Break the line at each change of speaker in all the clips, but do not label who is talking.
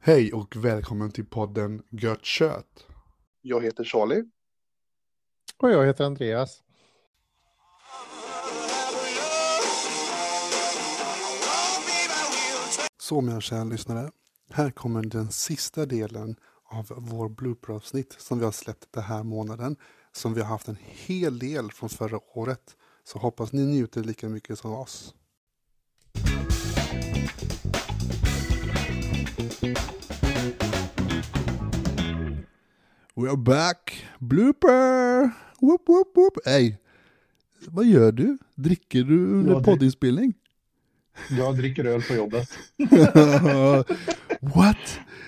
Hej och välkommen till podden Gött Kött.
Jag heter Charlie.
Och jag heter Andreas.
Så mina kära lyssnare, här kommer den sista delen av vår blooper-avsnitt som vi har släppt den här månaden. Som vi har haft en hel del från förra året. Så hoppas ni njuter lika mycket som oss. We're back! Blooper! Whoop, whoop, whoop! Hey! Vad gör du? Dricker du under
Jag drick-
poddinspelning?
Jag dricker öl på jobbet.
What?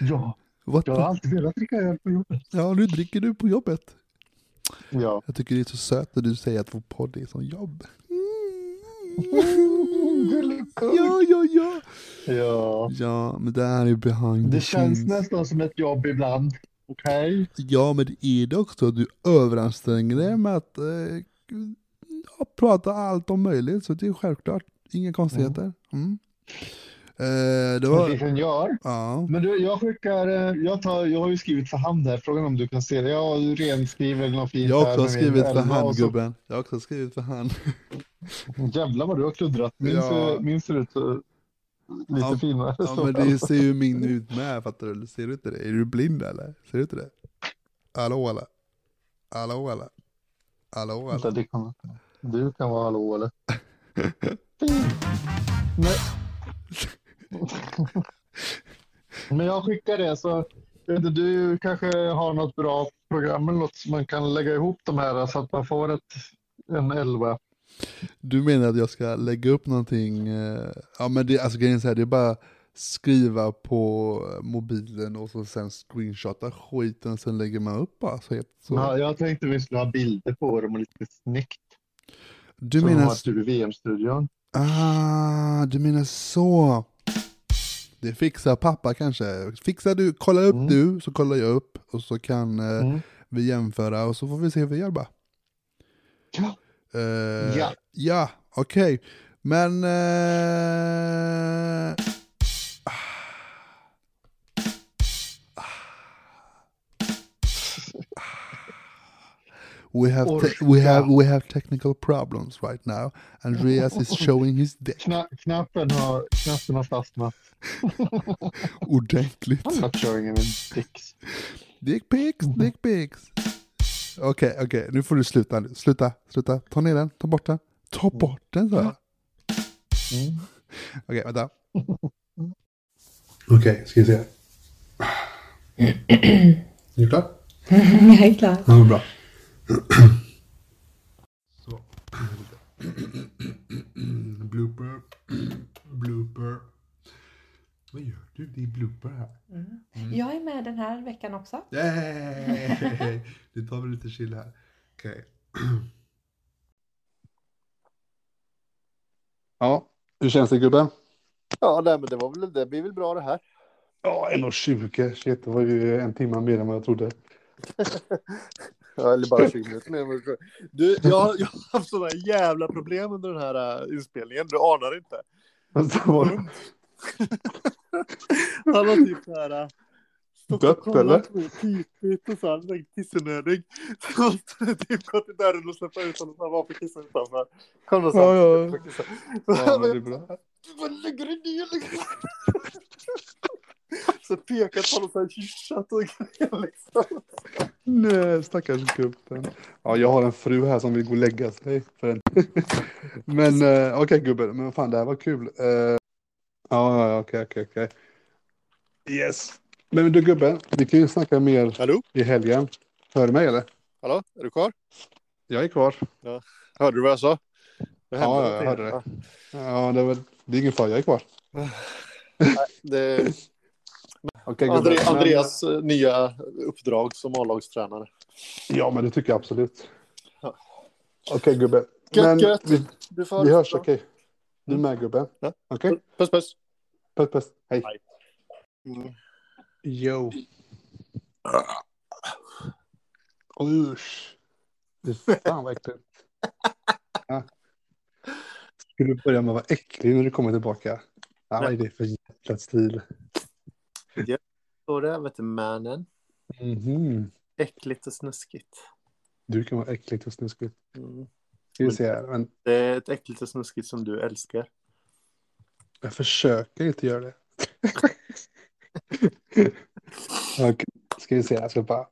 Ja,
What?
jag har alltid velat dricka öl på jobbet.
Ja, nu dricker du på jobbet.
Ja.
Jag tycker det är så söt när du säger att vår podd är som jobb. Ja, ja, ja.
ja.
Ja, men det här är behind the
Det känns
scenes.
nästan som ett jobb ibland. Okej?
Ja, men det är det också. Du överanstränger dig med att eh, ja, prata allt om möjligt. Så det är självklart. Inga konstigheter. Mm. Eh, det var...
Ingenjör.
Ja.
Men du, jag skickar, eh, jag, tar, jag har ju skrivit för hand här, frågan om du kan se det. Jag har ju renskriver något fint
Jag har
här
också
med min
skrivit för
elva och
hand,
så-
gubben. Jag har också skrivit för hand.
Jävlar vad du har kluddrat. Min,
Ja.
ser, min ser ut eh, lite
Ja,
finare.
Ja
så.
men det ser ju min ut med, fattar du? Ser du inte det? Är du blind eller? Ser du inte det? Hallå alla. Hallå alla. Hallå alla.
Vänta, det kan... Du kan vara hallå eller? Nej. Men jag skickar det så jag vet inte, du kanske har något bra program eller något som man kan lägga ihop de här så att man får ett, en elva.
Du menar att jag ska lägga upp någonting? eh, Ja men det, alltså grejen är så här, det är bara skriva på mobilen och så sen screenshotta skiten sen lägger man upp bara. Så, helt- så.
Ja, jag tänkte vi skulle ha bilder på dem och lite snyggt.
Du
som de
menar,
har stu- VM-studion.
ah, du menar så. Det fixar pappa kanske. Fixar du, kolla upp
Mm.
du så kollar jag upp och så kan eh,
Mm.
vi jämföra och så får vi se hur vi gör bara.
Ja.
Eh,
Ja.
Ja, okej. Men... eh, ah. Ah. We have, te- we,
Orka.
have, we have technical problems right now. Andreas is showing his dick
Kna knappen, har, knappen har fastnat.
ordentligt.
I'm not showing any dicks.
Dick pics, dick pics. Okej, okej, nu får du sluta nu. Sluta, sluta. Ta ner den, ta bort den. Ta bort den, sa jag.
Mm.
Okej, vänta. Okej, ska vi se. Är du klar?
Jag är klar.
Ja, men bra. Så. blooper. blooper. Vad gör du? Det är blooper här.
Jag är med den här veckan också.
Yay! Nu tar vi lite chill här. Okej. Ja, hur känns det gubben?
Ja, nej, men det, var väl, det blir väl bra det här.
Ja, 1.20. Shit, det var ju en timme mer än vad jag trodde.
Ja, eller bara 20 minuter mer. än vad du tror. Du, jag, har- jag har haft sådana jävla problem under den här äh, inspelningen. Du anar inte.
Alltså, var det...
Han har typ så här... äh, stått och
Dött,
kollat
eller?
på mig Pipigt och så här, tänkt kissnödig. Så har han typ gått i dörren och släppt ut honom. Han var för kissa utanför. Kom då, så.
Ja,
Ja,
ja. Ja,
ja.
men det är bra.
Vad lägger du ner liksom? Så pekat på honom så här, kyssat och grejer liksom.
Nej, stackars gubben. Ja, jag har en fru här som vill gå och lägga sig. För en... men eh, okej gubben, men fan det här var kul. Eh, Ja, ja, ja, okej, okej, okej. Yes. Men du gubben, vi kan ju snacka mer
Hallå?
i helgen. Hör du mig eller?
Hallå? Är du kvar?
Jag är kvar.
Hörde du vad jag sa? Det hände
Ja, ja, jag
någonting.
hörde det. Ja, det, var... det är ingen fara, jag är kvar.
Det-
Okej gubben.
Andre,
men-
Andreas eh, nya uppdrag som A-lagstränare.
Ja, men det tycker jag absolut.
Ja.
Okej gubben.
Gött,
Men
gött.
Vi,
Du får ha
vi
det
hörs,
så bra.
okej? Du med gubben?
Ja.
Okej?
Puss, puss.
Puss puss, hej.
Mm.
Yo.
Usch. Fy fan vad äckligt. Ja. Skulle du börja med att vara äcklig när du kommer tillbaka? Ja, vad är det för jävla stil?
Står det, vet du, mannen.
Mhm.
Äckligt och snuskigt.
Du kan vara äckligt och snuskigt.
Mm.
Ska vi se här. Men
Det är ett äckligt och snuskigt som du älskar.
jag försöker inte göra det. Okej, Ska vi se här. Jag ska bara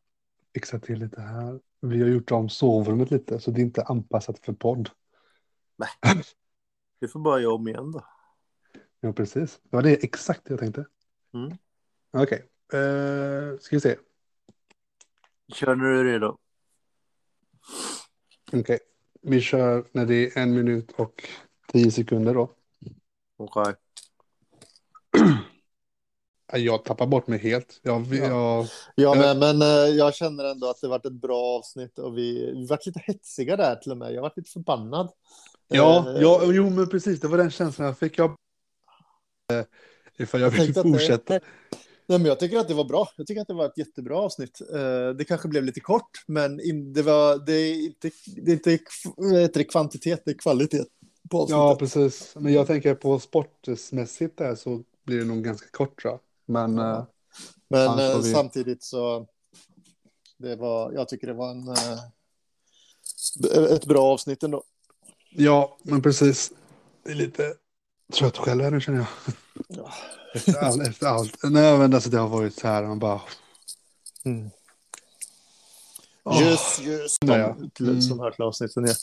fixa till lite här. Vi har gjort om sovrummet lite så det är inte anpassat för podd.
Du får bara göra om igen då.
Ja, precis. Det var det exakt jag tänkte.
Mm.
Okej, eh, ska vi se.
Kör när du är redo.
Okej, vi kör när det är en minut och tio sekunder då.
Okej.
Ja, Jag tappar bort mig helt. Jag, vi-
Ja. Ja,
jag,
men, men eh, jag känner ändå att det varit ett bra avsnitt och vi, vi varit lite hetsiga där till och med. Jag varit lite förbannad.
ja,
Eh,
ja, jo men precis, det var den känslan jag fick. Jag, eh, ifall jag vill
tänkte att det-
fortsätta.
Nej, men jag tycker att det var bra. Jag tycker att det var ett jättebra avsnitt. Eh, Det kanske blev lite kort, men in- det, var, det är inte, det är inte kv- vad heter det, kvantitet, det är kvalitet på avsnittet.
Ja, precis. Men jag tänker på sportmässigt där så blir det nog ganska kort tror jag. Men eh,
men
fan, så
eh,
vi-
samtidigt så, det var, jag tycker det var en, eh, ett bra avsnitt ändå.
ja, men precis. Det är lite trött själv här nu känner jag.
Ja.
Efter, all, efter allt. Nej, men alltså det har varit så här. Man bara...
Mm.
Åh.
Just, just.
Nej, ja. Mm.
De, till, Som hör till avsnitten, ja.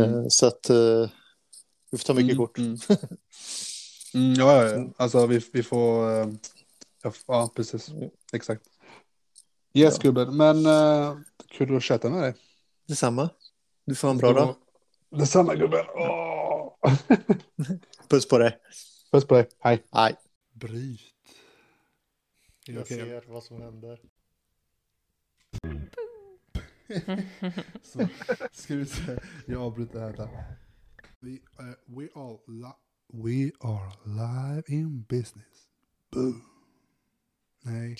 Eh, Så att eh, vi får ta mycket kort.
Mm. Mm, ja, ja, ja. Alltså vi, vi får... eh, Ja, f- ja, precis. Mm. Exakt. Yes,
Ja.
gubben. Men eh, kul att chatta med dig.
Detsamma. Du får ha en bra dag.
Detsamma, gubben. Åh.
Puss på dig.
Puss på dig. Hej.
Hej.
Bryt.
vad som händer.
Så, ska vi se. Jag avbryter här. där. We, eh, we, all li- we are live in business. Boom. Nej.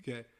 Okej.